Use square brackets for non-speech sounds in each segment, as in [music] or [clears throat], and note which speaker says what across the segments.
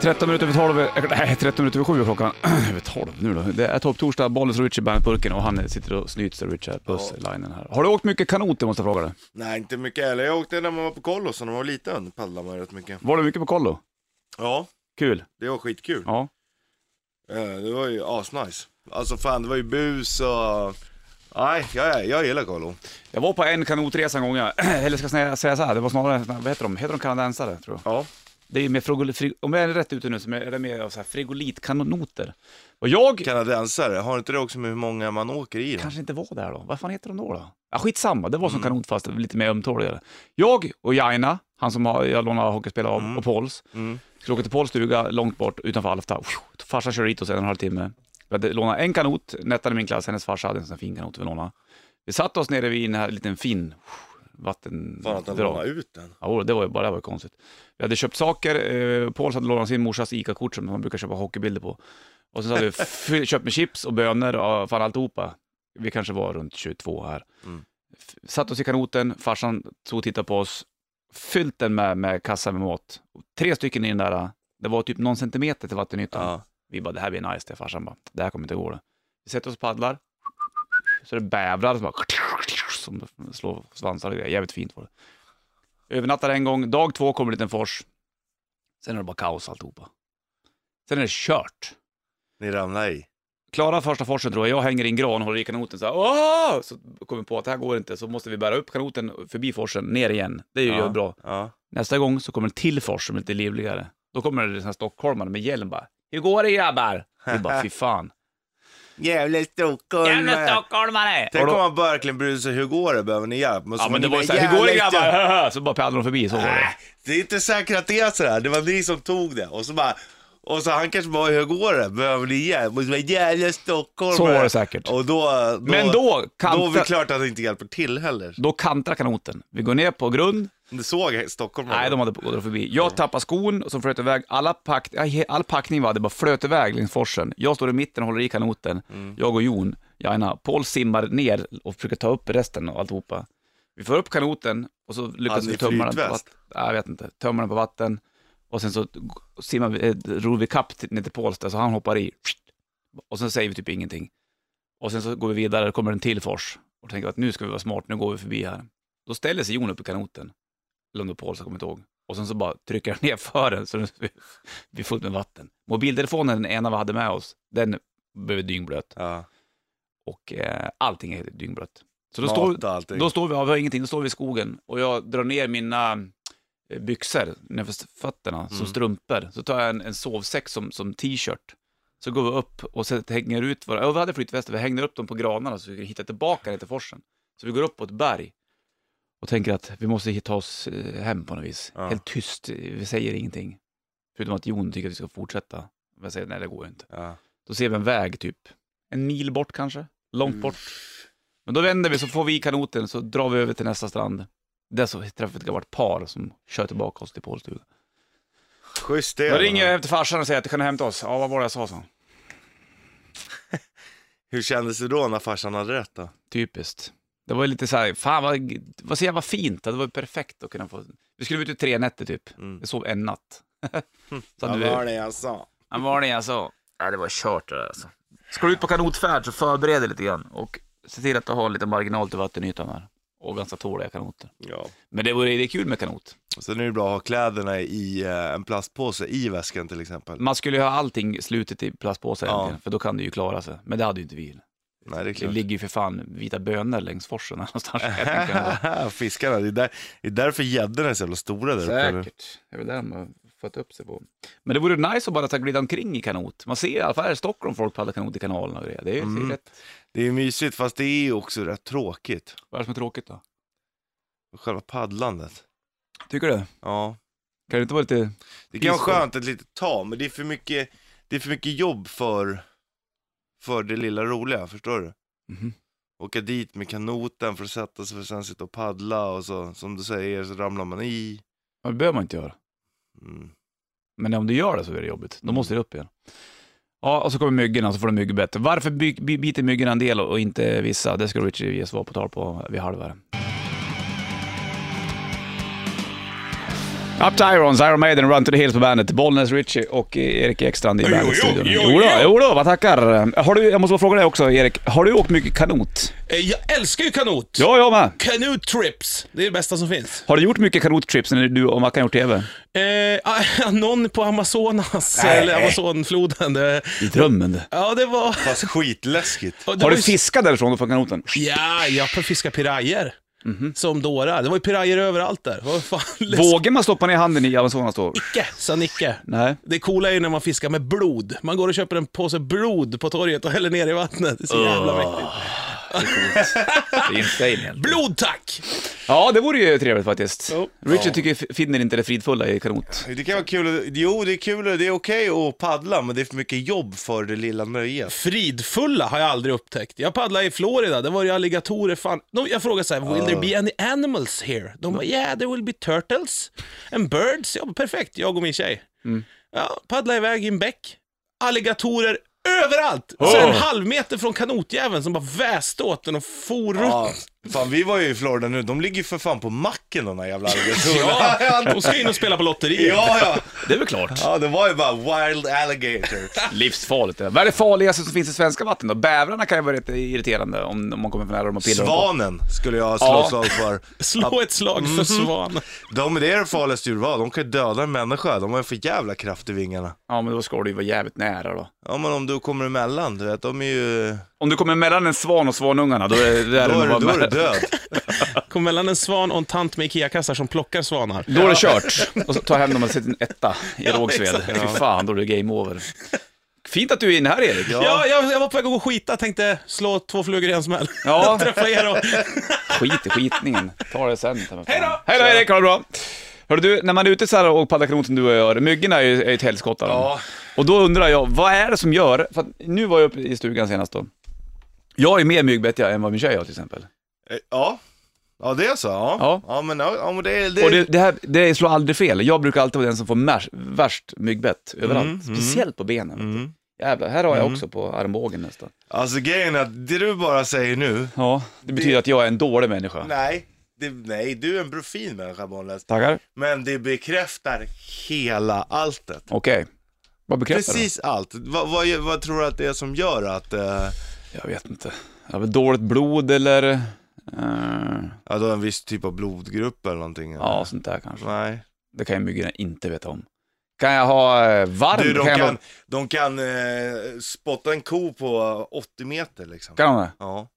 Speaker 1: 13 minuter över 12, nej 13 minuter över 7 är klockan. [clears throat] över 12 nu då. Det är topptorsdag, Bollnäs och Richard Bandet-burken och han sitter och snyter Richard Puss-linen här. Har du åkt mycket kanot, det måste jag fråga dig?
Speaker 2: Nej, inte mycket heller. Jag åkte när man var på kollo, så när man var liten paddlade man rätt mycket.
Speaker 1: Var du mycket på kollo?
Speaker 2: Ja,
Speaker 1: Kul.
Speaker 2: det var skitkul.
Speaker 1: Ja.
Speaker 2: Eh, Det var ju asnice. Alltså fan, det var ju bus och... Nej, jag, jag gillar kollo.
Speaker 1: Jag var på en kanotresa en gång, jag, [clears throat] eller ska jag säga så här, det var snarare, vad heter de, heter de kanadensare tror jag?
Speaker 2: Ja.
Speaker 1: Det är med frigol, frig, om jag är rätt ute nu så är det mer av så här frigolitkanoter. Och jag
Speaker 2: Kanadensare, har inte det också med hur många man åker i? Då?
Speaker 1: kanske inte var där då. Vad fan heter de då? då? Ja, skitsamma, det var
Speaker 2: Mm.
Speaker 1: som kanot fast lite mer ömtåligare. Jag och Jaina, han som har, jag lånade hockeyspelare av, och Pauls,
Speaker 2: Mm.
Speaker 1: skulle åka till Pauls stuga långt bort utanför Alfta. Phew, Farsan kör dit oss en och en halv timme. Vi hade lånat en kanot, Nettan i min klass, hennes farsa hade en sån här fin kanot vi lånade. Vi satte oss nere vid en här liten fin vatten...
Speaker 2: Fan att han
Speaker 1: drag.
Speaker 2: lånade ut den.
Speaker 1: Ja, oh, det var ju bara det var ju konstigt. Vi hade köpt saker, eh, Pauls hade lånat sin morsas ICA-kort som man brukar köpa hockeybilder på. Och sen så
Speaker 2: [laughs]
Speaker 1: hade vi f- köpt med chips och bönor och fan alltihopa. Vi kanske var runt 22 här.
Speaker 2: Mm.
Speaker 1: F- Satt oss i kanoten, farsan stod och tittade på oss, fyllt den med, med kassa med mat. Och Tre stycken i den där, det var typ någon centimeter till vattenytan.
Speaker 2: Ja.
Speaker 1: Vi bara, det här blir nice det. Farsan bara, det här kommer inte gå det. Vi sätter oss och paddlar. Så det bävrar som bara som slår svansar och grejer. Jävligt fint var det. Övernattar en gång, dag två kommer en liten fors. Sen är det bara kaos alltihopa. Sen är det kört.
Speaker 2: Ni ramlade i.
Speaker 1: Klara första forsen tror jag, jag hänger i en gran och håller i kanoten så här, Åh! Så kommer vi på att det här går inte, så måste vi bära upp kanoten förbi forsen, ner igen. Det är ju
Speaker 2: ja.
Speaker 1: bra.
Speaker 2: Ja.
Speaker 1: Nästa gång så kommer en till fors som är lite livligare. Då kommer det en sån här stockholmare med hjälm bara. Hur går det grabbar? Vi bara, fy fan.
Speaker 2: Jävla Stockholm.
Speaker 1: stockholmare!
Speaker 2: Tänk om man verkligen bryr sig, hur går det? Behöver ni hjälp?
Speaker 1: Ja men det var ju såhär, hur går det grabbar?
Speaker 2: Äh,
Speaker 1: Haha. [laughs] Så bara paddlade de förbi, så var det.
Speaker 2: det är inte säkert att det är sådär, det var ni som tog det. Och så bara, och så han kanske bara, hur går det? Behöver ni hjälp? Och så bara, jävla Stockholm.
Speaker 1: Så var det säkert.
Speaker 2: Och då, då,
Speaker 1: Men då
Speaker 2: då är det
Speaker 1: kantra,
Speaker 2: klart att det inte hjälper till heller.
Speaker 1: då kantrar kanoten. Vi går ner på grund.
Speaker 2: Du såg Stockholm?
Speaker 1: Nej, de hade gått förbi. Jag tappade skon som flöt iväg. Alla pack, ja, he- all packning var det bara flöt iväg längs forsen. Jag står i mitten och håller i kanoten. Mm. Jag och Jon, Jaina. Paul simmar ner och försöker ta upp resten och alltihopa. Vi får upp kanoten och så lyckas
Speaker 2: Hade
Speaker 1: vi
Speaker 2: ni
Speaker 1: tömma den på
Speaker 2: flytväst?
Speaker 1: vatten. Jag vet inte. Tömma den på vatten och sen så g- simmar vi, eh, ror vi kapp till- ner till Pauls där, så han hoppar i. Och sen säger vi typ ingenting. Och sen så går vi vidare, det kommer en till fors. Och tänker att nu ska vi vara smart, nu går vi förbi här. Då ställer sig Jon upp i kanoten. Eller om det är Paul, så kommer jag inte ihåg. Och sen så bara trycker jag ner fören [laughs] så den blir fullt med vatten. Mobiltelefonen, den ena vi hade med oss, den blev dyngblöt.
Speaker 2: Ja.
Speaker 1: Och eh, allting är dyngblött. Så då
Speaker 2: Mat
Speaker 1: står,
Speaker 2: och allting.
Speaker 1: då står vi, ja, vi har ingenting, då står vi i skogen och jag drar ner mina eh, byxor nedanför fötterna som
Speaker 2: Mm.
Speaker 1: strumpor. Så tar jag en, en sovsäck som, som t-shirt. Så går vi upp och så hänger ut våra, ja vi hade flytvästar, vi hängde upp dem på granarna så vi kan hitta tillbaka ner till forsen. Så vi går upp på ett berg och tänker att vi måste hitta oss eh, hem på något vis.
Speaker 2: Ja.
Speaker 1: Helt tyst, eh, vi säger ingenting. Förutom att Jon tycker att vi ska fortsätta. Men jag säger nej det går ju inte.
Speaker 2: Ja.
Speaker 1: Då ser vi en väg typ en mil bort kanske,
Speaker 2: Mm.
Speaker 1: långt bort. Men då vänder vi så får vi i kanoten så drar vi över till nästa strand. Där så träffar vi ett gammalt par som kör tillbaka oss till Pålstuga.
Speaker 2: Schysst det.
Speaker 1: Då ringer jag hem till farsan och säger att du kan hämta oss. Ja, vad var det jag sa så?
Speaker 2: Hur kändes det då när farsan hade rätt då?
Speaker 1: Typiskt. Det var ju lite så här, fan vad, vad så jävla fint, det var ju perfekt att kunna få. Vi skulle vara ute i tre nätter typ,
Speaker 2: Mm.
Speaker 1: vi sov en
Speaker 2: [laughs]
Speaker 1: natt. så hade vi,
Speaker 2: det jag sa.
Speaker 1: han var det jag sa. Ja, det var kört det där alltså. Ska du ut på kanotfärd så förbered dig lite grann och se till att du har lite marginal till vattenytan här. Och ganska tåliga kanoter.
Speaker 2: Ja.
Speaker 1: Men det vore det är kul med kanot.
Speaker 2: Sen är det bra att ha kläderna i eh, en plastpåse i väskan till exempel.
Speaker 1: Man skulle ju ha allting slutet i plastpåsar
Speaker 2: Ja.
Speaker 1: egentligen, för då kan det ju klara sig. Men det hade ju inte vi.
Speaker 2: Nej, det är
Speaker 1: Det
Speaker 2: klart.
Speaker 1: ligger ju för fan vita bönor längs forsen här [laughs] någonstans. Jag tänker
Speaker 2: [laughs]
Speaker 1: ändå.
Speaker 2: Fiskarna, det är, där, det är därför gäddorna är så jävla stora där uppe. nu.
Speaker 1: [laughs] Säkert. Det är väl där de har fått upp sig på. Men det vore nice att bara ta glida omkring i kanot. Man ser i alla fall här i Stockholm folk paddlar kanot i kanalen och grejer. Det är ju det är
Speaker 2: Mm.
Speaker 1: rätt.
Speaker 2: Det är mysigt fast det är ju också rätt tråkigt.
Speaker 1: Vad är det som är tråkigt då?
Speaker 2: Själva paddlandet.
Speaker 1: Tycker du?
Speaker 2: Ja.
Speaker 1: Kan det inte vara lite...
Speaker 2: Det kan vara
Speaker 1: Peaceful.
Speaker 2: skönt ett litet tag men det är för mycket, det är för mycket jobb för, för det lilla roliga, förstår du?
Speaker 1: Mhm.
Speaker 2: Åka dit med kanoten för att sätta sig för att sen sitta och paddla och så, som du säger, så ramlar man i.
Speaker 1: Ja, Det behöver man inte göra.
Speaker 2: Mm.
Speaker 1: Men om du gör det så är det jobbigt. Då
Speaker 2: Mm.
Speaker 1: måste det upp igen. Ja, och så kommer myggorna så får du myggbett. Varför by- by- biter myggorna en del och inte vissa? Det ska Richie ge svar på tal på vid halv här. Up Tyrons, Iron Maiden, Run to the Hills på bandet. Bollnäs Richie och Erik Ekstrand i
Speaker 3: Jo,
Speaker 1: bandetstudion.
Speaker 3: jo, jo,
Speaker 1: Jodå,
Speaker 3: jo.
Speaker 1: jodå, vad tackar. Har du, jag måste bara fråga dig också Erik, har du åkt mycket kanot?
Speaker 3: Eh, Jag älskar ju kanot.
Speaker 1: Ja, jag med.
Speaker 3: Canoe trips, det är det bästa som finns.
Speaker 1: Har du gjort mycket kanottrips när du och Mackan gjort TV?
Speaker 3: Eh, ah, [laughs] någon på Amazonas, eller Amazonfloden. Det,
Speaker 1: I drömmen. det.
Speaker 3: ja, det var...
Speaker 2: Fast skitläskigt.
Speaker 3: det
Speaker 1: Har
Speaker 3: var
Speaker 1: du
Speaker 3: ju-
Speaker 1: fiskat därifrån och från kanoten?
Speaker 3: Ja, jag fiskar pirajer. Som dårar. Det var ju pirajer överallt där. Vad fan [laughs] läskigt.
Speaker 1: Vågar man stoppa ner handen i Amazonas då?
Speaker 3: Icke, sa Nicke.
Speaker 1: Nej.
Speaker 3: Det coola är ju när man fiskar med blod. Man går och köper en påse blod på torget och häller ner i vattnet. Det är så jävla mäktigt.
Speaker 1: Det är insane.
Speaker 3: Blod tack!
Speaker 1: Ja, det vore ju trevligt faktiskt.
Speaker 3: Jo.
Speaker 1: Richard tycker ju- finner inte det fridfulla i kanot.
Speaker 2: Det kan vara kul, att- jo det är kul, och det är okej att paddla men det är för mycket jobb för det lilla nöjet.
Speaker 3: Fridfulla har jag aldrig upptäckt. Jag paddlade i Florida, där var det alligatorer fan. De, jag frågade så här, will there be any animals here? De bara, yeah there will be turtles and birds. Jag bara, perfekt, jag och min tjej.
Speaker 1: Mm.
Speaker 3: Ja, paddla iväg i en bäck. Alligatorer överallt! Så en halv meter från kanotjäveln som bara väste åt den och for runt.
Speaker 2: Ja, fan vi var ju i Florida nu, de ligger ju för fan på macken de där
Speaker 3: [laughs]
Speaker 2: jävla alligatorerna.
Speaker 3: Ja,
Speaker 1: [laughs]
Speaker 3: de ska in och spela på lotteri.
Speaker 2: Ja,
Speaker 3: [laughs]
Speaker 2: ja.
Speaker 1: Det är väl klart.
Speaker 2: ja, det var ju bara wild
Speaker 1: [laughs]
Speaker 2: alligator.
Speaker 1: Livsfarligt. det där. Vad är det farligaste som finns i svenska vatten då? Bävrarna kan ju vara rätt irriterande om, om man kommer för nära dem och pillar dem på.
Speaker 2: Svanen skulle jag slå
Speaker 1: Ja.
Speaker 2: slag för.
Speaker 3: Slå ett slag
Speaker 1: Mhm.
Speaker 3: för svan.
Speaker 2: De, det är det farligaste djur var. de kan ju döda en människa, de har ju för jävla kraft i vingarna.
Speaker 1: Ja, men då ska du ju vara jävligt nära då.
Speaker 2: Ja men om du kommer emellan, du vet, de är ju...
Speaker 1: Om du kommer mellan en svan och svanungarna, då är det,
Speaker 2: Då är, du-
Speaker 1: nog
Speaker 2: då är
Speaker 1: bara-
Speaker 2: du
Speaker 1: [laughs]
Speaker 2: död.
Speaker 3: Kom mellan en svan och en tant med IKEA-kassar som plockar svanar.
Speaker 1: Då är det kört. Och så tar hem dem och sätter en etta i
Speaker 3: Ja,
Speaker 1: Rågsved.
Speaker 3: exakt.
Speaker 1: Fy fan, då är det game over. Fint att du är inne här Erik.
Speaker 2: Ja.
Speaker 3: Ja, jag, jag var på väg att gå och skita, tänkte slå två flugor i en smäll. [laughs]
Speaker 1: Ja.
Speaker 3: Träffa er och...
Speaker 1: Skit i skitningen. Ta det sen. ta mig fan.
Speaker 3: Hej då!
Speaker 1: Hej då Erik, ha det bra! Hörru du, när man är ute så här och paddlar kanot som du och jag gör, myggorna är ju är ju ett helskotta. Ja. Och då undrar jag, vad är det som gör, för att nu var jag uppe i stugan senast då. Jag är mer myggbett jag än vad min tjej har till exempel.
Speaker 2: Eh, Ja. Ja det är så, ja.
Speaker 1: Ja.
Speaker 2: Ja, men, ja, ja, men det är...
Speaker 1: Och det, det, här, det slår aldrig fel. Jag brukar alltid vara den som får mär, värst myggbett överallt. Speciellt på benen. vet du. Jävlar, här har jag också på armbågen nästan.
Speaker 2: Alltså grejen är att det du bara säger nu,
Speaker 1: Ja, det betyder att jag är en dålig människa.
Speaker 2: nej, det, nej du är en profil människa Bollnäs.
Speaker 1: Tackar.
Speaker 2: Men det bekräftar hela alltet.
Speaker 1: Okej. Vad bekräftar du?
Speaker 2: Precis allt. Vad, vad, vad tror du att det är som gör att... eh,
Speaker 1: Jag vet inte. Jag har dåligt blod eller... eh,
Speaker 2: ja, du har en viss typ av blodgrupp eller någonting? eller?
Speaker 1: ja, sånt där kanske.
Speaker 2: Nej.
Speaker 1: Det kan ju myggorna inte veta om. Kan jag ha eh, varm?
Speaker 2: Du, de
Speaker 1: kan, jag
Speaker 2: kan,
Speaker 1: ha...
Speaker 2: de kan eh, spotta en ko på 80 meter liksom.
Speaker 1: kan de det?
Speaker 2: Ja.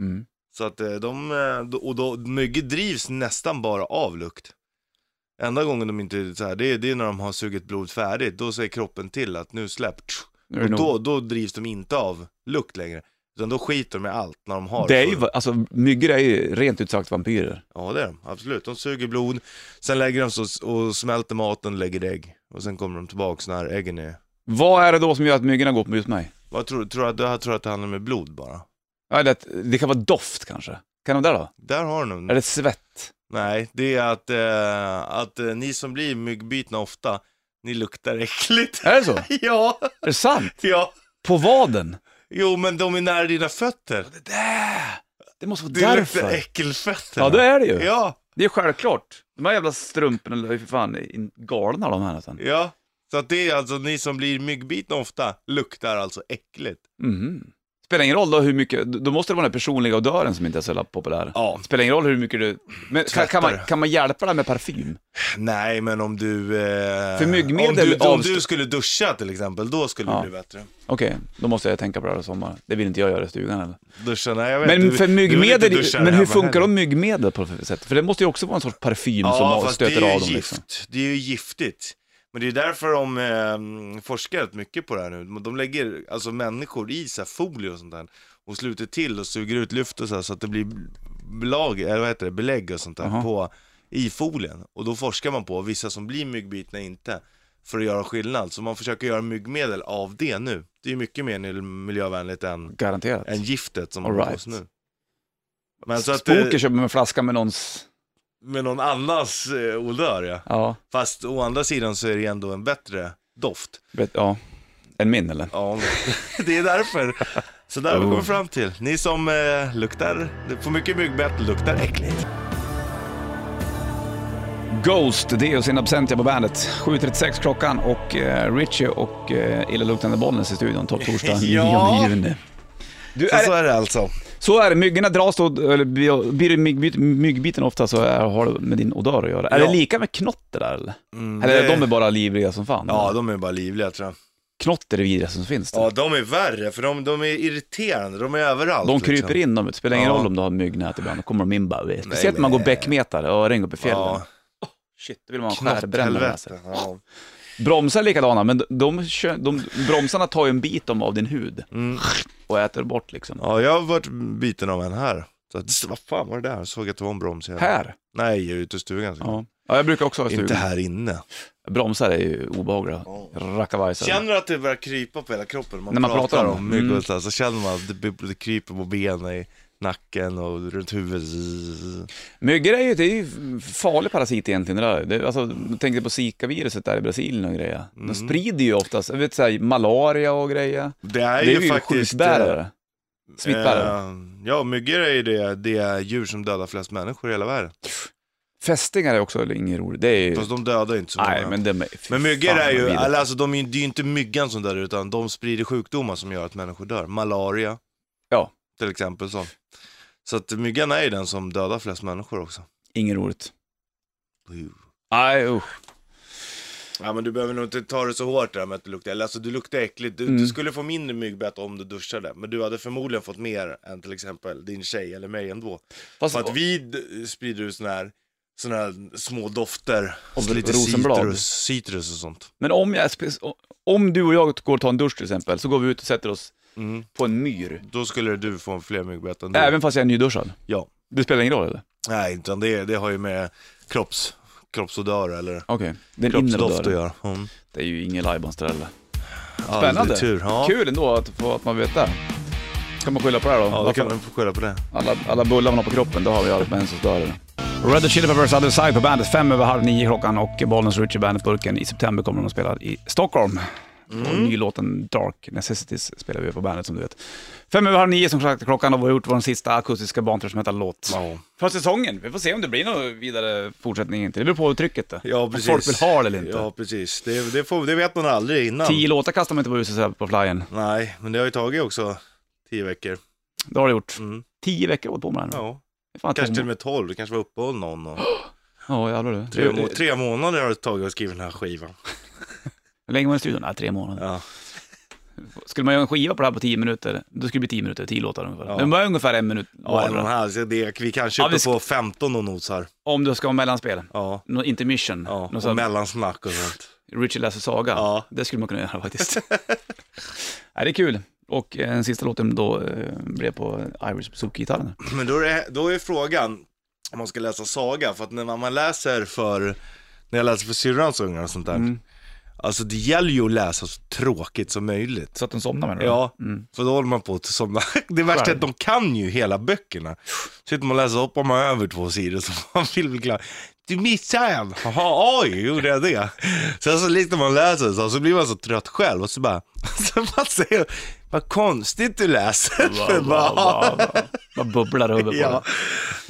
Speaker 1: Mm.
Speaker 2: Så att eh, de, eh, och då, myggor drivs nästan bara av lukt. Enda gången de inte, så här, det, är, det är när de har sugit blod färdigt, då säger kroppen till att nu släpp.
Speaker 1: Nu är
Speaker 2: Och
Speaker 1: det, nog...
Speaker 2: då, då drivs de inte av lukt längre. Utan då skiter de i allt när de har
Speaker 1: det är ju,
Speaker 2: full-
Speaker 1: alltså myggor är ju rent ut sagt vampyrer.
Speaker 2: Ja det är de, absolut. De suger blod, sen lägger de så och smälter maten och lägger ägg. Och sen kommer de tillbaks när äggen är...
Speaker 1: Vad är det då som gör att myggorna går på just mig?
Speaker 2: Vad tror, tror, jag, jag tror att det handlar med blod bara.
Speaker 1: Ja, det, det kan vara doft kanske. Kan de där då?
Speaker 2: Där har du
Speaker 1: Är
Speaker 2: den.
Speaker 1: det svett?
Speaker 2: Nej, det är att, eh, att eh, ni som blir myggbitna ofta, ni luktar äckligt. [laughs]
Speaker 1: Är det så? Är
Speaker 2: ja,
Speaker 1: det sant?
Speaker 2: ja.
Speaker 1: På vaden?
Speaker 2: Jo men de är nära dina fötter.
Speaker 1: Det där! Det måste vara
Speaker 2: Det luktar
Speaker 1: därför.
Speaker 2: äckelfötter.
Speaker 1: Ja, det är det ju.
Speaker 2: Ja,
Speaker 1: Det är självklart. De här jävla strumporna är ju för fan in- galna de här nästan.
Speaker 2: ja. Så att det är alltså ni som blir myggbitna ofta, luktar alltså äckligt.
Speaker 1: Mhm. Spelar ingen roll då hur mycket, då måste det vara den här personliga odören som inte är så jävla populär.
Speaker 2: Ja.
Speaker 1: Spelar ingen roll hur mycket du, men kan, kan, man,
Speaker 2: Tvättar.
Speaker 1: kan man hjälpa det med parfym?
Speaker 2: Nej, men om du... Eh,
Speaker 1: För myggmedel
Speaker 2: om du, om
Speaker 1: avst-
Speaker 2: du skulle duscha till exempel, då skulle
Speaker 1: Ja.
Speaker 2: det bli bättre.
Speaker 1: Okej, då måste jag tänka på det här i sommar. Det vill inte jag göra i stugan heller.
Speaker 2: Duscha, nej jag vet
Speaker 1: Men
Speaker 2: inte.
Speaker 1: för
Speaker 2: Du- du vill inte
Speaker 1: myggmedel,
Speaker 2: duscha
Speaker 1: men
Speaker 2: hemma
Speaker 1: hur funkar
Speaker 2: heller.
Speaker 1: de myggmedel på för sätt? För det måste ju också vara en sorts parfym
Speaker 2: Ja,
Speaker 1: som
Speaker 2: fast det
Speaker 1: stöter
Speaker 2: är
Speaker 1: av
Speaker 2: ju
Speaker 1: dem
Speaker 2: gift.
Speaker 1: liksom.
Speaker 2: Det är ju giftigt. Men det är därför de eh, forskar rätt mycket på det här nu. De lägger alltså människor i så här, folie och sånt där. Och sluter till och suger ut luft och så här, så att det blir belag, eller vad heter det, belägg och sånt där
Speaker 1: Jaha.
Speaker 2: på, i folien. Och då forskar man på vissa som blir myggbitna inte. För att göra skillnad. Så man försöker göra myggmedel av det nu. Det är ju mycket mer miljövänligt än
Speaker 1: Garanterat.
Speaker 2: än giftet som
Speaker 1: All
Speaker 2: man har på
Speaker 1: right.
Speaker 2: oss nu. Men så att, eh,
Speaker 1: Spoker köper man en flaska med någons,
Speaker 2: med någon annans eh, odör ja.
Speaker 1: ja,
Speaker 2: Fast å andra sidan så är det ändå en bättre doft.
Speaker 1: vet, ja, en min eller?
Speaker 2: Ja, [laughs] det är därför. Så där har vi
Speaker 1: Oh.
Speaker 2: kommit fram till. Ni som eh, luktar, får mycket myggbett luktar äckligt.
Speaker 1: Ghost, det och sin absentia på bandet. 7.36 klockan och eh, Richie och eh, illaluktande Bollnäs i studion, topp
Speaker 2: [laughs]
Speaker 1: torsdag
Speaker 2: Ja.
Speaker 1: 9 juni. Du,
Speaker 2: Så,
Speaker 1: är
Speaker 2: så
Speaker 1: det,
Speaker 2: är det alltså.
Speaker 1: så är det, myggorna dras då, eller blir blir det myggbyte- myggbiten ofta så är, har det med din odör att göra. Är
Speaker 2: Ja.
Speaker 1: det lika med knotter där eller?
Speaker 2: Mm,
Speaker 1: Eller
Speaker 2: det-
Speaker 1: de är bara livliga som fan?
Speaker 2: Ja, de är bara livliga tror jag.
Speaker 1: Knotter är det vidrigaste som finns.
Speaker 2: Ja, de är värre för de, de är irriterande, de är överallt.
Speaker 1: De kryper
Speaker 2: liksom.
Speaker 1: in dem, det spelar ingen
Speaker 2: Ja.
Speaker 1: roll om du har myggnät ibland, då kommer de in bara. vet.
Speaker 2: Nej,
Speaker 1: Speciellt när man går bäckmeter, öring uppe i fjällen.
Speaker 2: Ja,
Speaker 1: Shit, då vill man ha skärbrännare med sig.
Speaker 2: knotthelvete.
Speaker 1: alltså.
Speaker 2: Ja.
Speaker 1: Bromsar är likadana, men de, de, kö- de, bromsarna tar ju en bit om av din hud
Speaker 2: Mm.
Speaker 1: och äter bort liksom.
Speaker 2: ja, jag har varit biten av en här. Så, att, vad fan var det där? Såg att det var en broms här.
Speaker 1: Här?
Speaker 2: Nej, ute i stugan.
Speaker 1: Ja. ja, jag brukar också ha
Speaker 2: Inte
Speaker 1: stug.
Speaker 2: här inne.
Speaker 1: Bromsar är ju obehagliga.
Speaker 2: Ja.
Speaker 1: Rackavajsare.
Speaker 2: Känner du att det börjar krypa på hela kroppen? Man
Speaker 1: När man pratar om det.
Speaker 2: mygg
Speaker 1: Mm.
Speaker 2: och sådär, så känner man att det, det kryper på benen, i nacken och runt huvudet.
Speaker 1: Myggor är ju, det är ju en farlig parasit egentligen. Det där. Det, alltså, jag tänkte på Zika-viruset där i Brasilien och grejer. De sprider ju oftast, jag vet så här, malaria och grejer.
Speaker 2: Mm. Det är,
Speaker 1: det är
Speaker 2: ju,
Speaker 1: ju
Speaker 2: faktiskt... eh,
Speaker 1: sjukbärare. Smittbärare.
Speaker 2: eh, ja, myggor är ju det, det är djur som dödar flest människor i hela världen.
Speaker 1: Fästingar är också inget roligt. Det är ju...
Speaker 2: Fast de dödar inte så många.
Speaker 1: Nej, men de är... fy
Speaker 2: Men myggor
Speaker 1: fan,
Speaker 2: är ju,
Speaker 1: vad vidrigt.
Speaker 2: eller alltså de är, ju- det är ju inte myggan som dör utan de sprider sjukdomar som gör att människor dör. Malaria.
Speaker 1: Ja.
Speaker 2: Till exempel så. Så att myggan är ju den som dödar flest människor också.
Speaker 1: Inget roligt. Nej, usch.
Speaker 2: Ja men du behöver nog inte ta det så hårt där med att du luktar, eller alltså du luktar äckligt. Du,
Speaker 1: Mm.
Speaker 2: du skulle få mindre myggbett om du duschade, men du hade förmodligen fått mer än till exempel din tjej eller mig ändå.
Speaker 1: Fast-
Speaker 2: För att vi d- sprider ut såna här, såna här små dofter,
Speaker 1: Och
Speaker 2: Så lite
Speaker 1: rosenblad.
Speaker 2: citrus, citrus och sånt.
Speaker 1: Men om, jag, om du och jag går och tar en dusch till exempel, så går vi ut och sätter oss
Speaker 2: Mm.
Speaker 1: på en myr.
Speaker 2: Då skulle du få fler myggbett än du.
Speaker 1: Även fast jag är nyduschad.
Speaker 2: Ja.
Speaker 1: Det spelar ingen roll eller?
Speaker 2: Nej, utan det, det har ju med kropps, kroppsodör eller
Speaker 1: Okej. Den inre
Speaker 2: kroppsdoft att
Speaker 1: dörren.
Speaker 2: göra. Mm.
Speaker 1: Det är ju ingen lajbans det heller.
Speaker 2: Ja, det
Speaker 1: Spännande.
Speaker 2: är tur. Ja.
Speaker 1: Kul ändå att, få- att man vet det. Ska man skylla på det här då?
Speaker 2: Ja, då
Speaker 1: Varför-
Speaker 2: kan man få skylla på det.
Speaker 1: alla, alla bullar man har på kroppen, då har vi allt mens och större. Red Hot Chili Peppers Other Side på bandet, fem över halv nio klockan och Bollnäs Richie Bandet-burken. I september kommer de att spela i Stockholm.
Speaker 2: Mm.
Speaker 1: Och nylåten Dark Necessities spelar vi på bandet som du vet. Fem över halv nio som sagt klockan och vi har gjort vår sista akustiska barntrumsmetallåt.
Speaker 2: Ja.
Speaker 1: För säsongen, vi får se om det blir någon vidare fortsättning inte. Det beror på uttrycket det.
Speaker 2: Ja,
Speaker 1: Om
Speaker 2: precis.
Speaker 1: folk vill ha det eller inte.
Speaker 2: Ja, precis. Det, det, får, det vet man aldrig innan.
Speaker 1: Tio låtar kastar man inte på huset så här på flyen.
Speaker 2: Nej, men det har ju tagit också tio veckor.
Speaker 1: Det har det gjort.
Speaker 2: Mm.
Speaker 1: Tio veckor åt på med den.
Speaker 2: Ja,
Speaker 1: Det är fan
Speaker 2: kanske
Speaker 1: två
Speaker 2: till och
Speaker 1: må-
Speaker 2: med tolv. Det kanske var uppehåll någon.
Speaker 1: [gasps]
Speaker 2: Och...
Speaker 1: Ja, jävlar du.
Speaker 2: Tre, må- tre månader har det tagit att skriva den här skivan.
Speaker 1: Hur länge var den i studion? Nej, tre månader.
Speaker 2: Ja.
Speaker 1: Skulle man göra en skiva på det här på 10 minuter, då skulle det bli 10 minuter, 10 låtar ungefär.
Speaker 2: Ja.
Speaker 1: Men bara ungefär en minut
Speaker 2: Ja, en och en
Speaker 1: vardera.
Speaker 2: halv. Så det, vi kanske
Speaker 1: Ja,
Speaker 2: är uppe
Speaker 1: vi ska-
Speaker 2: på 15 och nosar.
Speaker 1: Om du ska ha mellanspel,
Speaker 2: Ja,
Speaker 1: Nå- intermission,
Speaker 2: ja.
Speaker 1: Någon
Speaker 2: och
Speaker 1: sån här
Speaker 2: mellansnack och sånt.
Speaker 1: Richie läser saga.
Speaker 2: Ja.
Speaker 1: Det skulle man kunna göra
Speaker 2: [laughs]
Speaker 1: faktiskt. Nej, det är kul. Och eh, den sista låten då eh, blev på Irish Bazooka-gitarren.
Speaker 2: Men då är, det, då är frågan om man ska läsa saga, för att när man läser för, när jag läser för syrrans ungar och sånt där,
Speaker 1: Mm.
Speaker 2: alltså det gäller ju att läsa så tråkigt som möjligt.
Speaker 1: Så att den somnade med den.
Speaker 2: Ja,
Speaker 1: Mm.
Speaker 2: för då håller man på att somna. [laughs] Det värsta är att de kan ju hela böckerna. Sitter man och läser hoppar man över två sidor så man vill bli klar. Du missade en! Jaha, oj, gjorde jag det? Sen så liksom man läser så, så blir man så trött själv och så bara, [laughs] så man säger, vad konstigt du läser. [laughs]
Speaker 1: Bara, bara, bara, bara, bara bubblar över på
Speaker 2: Ja.
Speaker 1: den.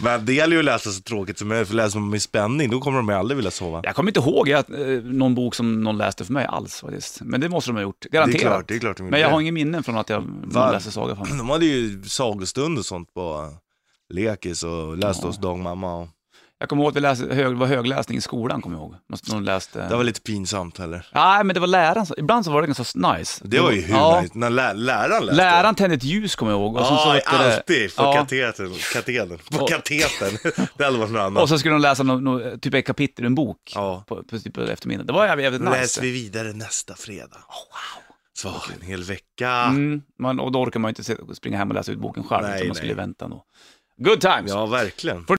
Speaker 2: Men det gäller ju att läsa så tråkigt som möjligt, för läser man med spänning då kommer de ju aldrig vilja sova. [clears throat]
Speaker 1: Jag kommer inte ihåg att, eh, någon bok som någon läste för mig alls faktiskt. Men det måste de ha gjort,
Speaker 2: det
Speaker 1: garanterat.
Speaker 2: är klart, det är klart de
Speaker 1: Men jag har
Speaker 2: gjorde
Speaker 1: ingen minnen från att jag
Speaker 2: Va?
Speaker 1: läste saga. Fan.
Speaker 2: det. De hade ju sagostund och sånt på lekis och läste hos dagmamma. Och...
Speaker 1: Jag kommer ihåg att vi läste, hög, var högläsning i skolan, kommer jag ihåg. Man- Någon läste...
Speaker 2: Det var lite pinsamt heller.
Speaker 1: Nej, men det var läraren som... Ibland så var det ganska nice.
Speaker 2: Det var ju hur
Speaker 1: Ja.
Speaker 2: nice, när lä- läraren läste.
Speaker 1: Läraren tände ett ljus, kommer jag ihåg. Och sen så
Speaker 2: Ja,
Speaker 1: hette det-
Speaker 2: alltid på
Speaker 1: Ja.
Speaker 2: katetern. Katedern. På
Speaker 1: Och-
Speaker 2: katetern. [laughs] det hade varit något
Speaker 1: Och
Speaker 2: annat.
Speaker 1: så skulle de läsa no, no, typ ett kapitel ur en bok
Speaker 2: Ja.
Speaker 1: på, på, typ på eftermiddagen. Det var jävligt, jävligt
Speaker 2: Nu läser
Speaker 1: nice. Oh,
Speaker 2: vi vidare nästa fredag. Så har vi en hel vecka.
Speaker 1: Mm, man, och då orkar man ju inte se- springa hem och läsa ut boken själv,
Speaker 2: Nej,
Speaker 1: utan man
Speaker 2: nej.
Speaker 1: skulle vänta då. Good times!
Speaker 2: Ja, verkligen.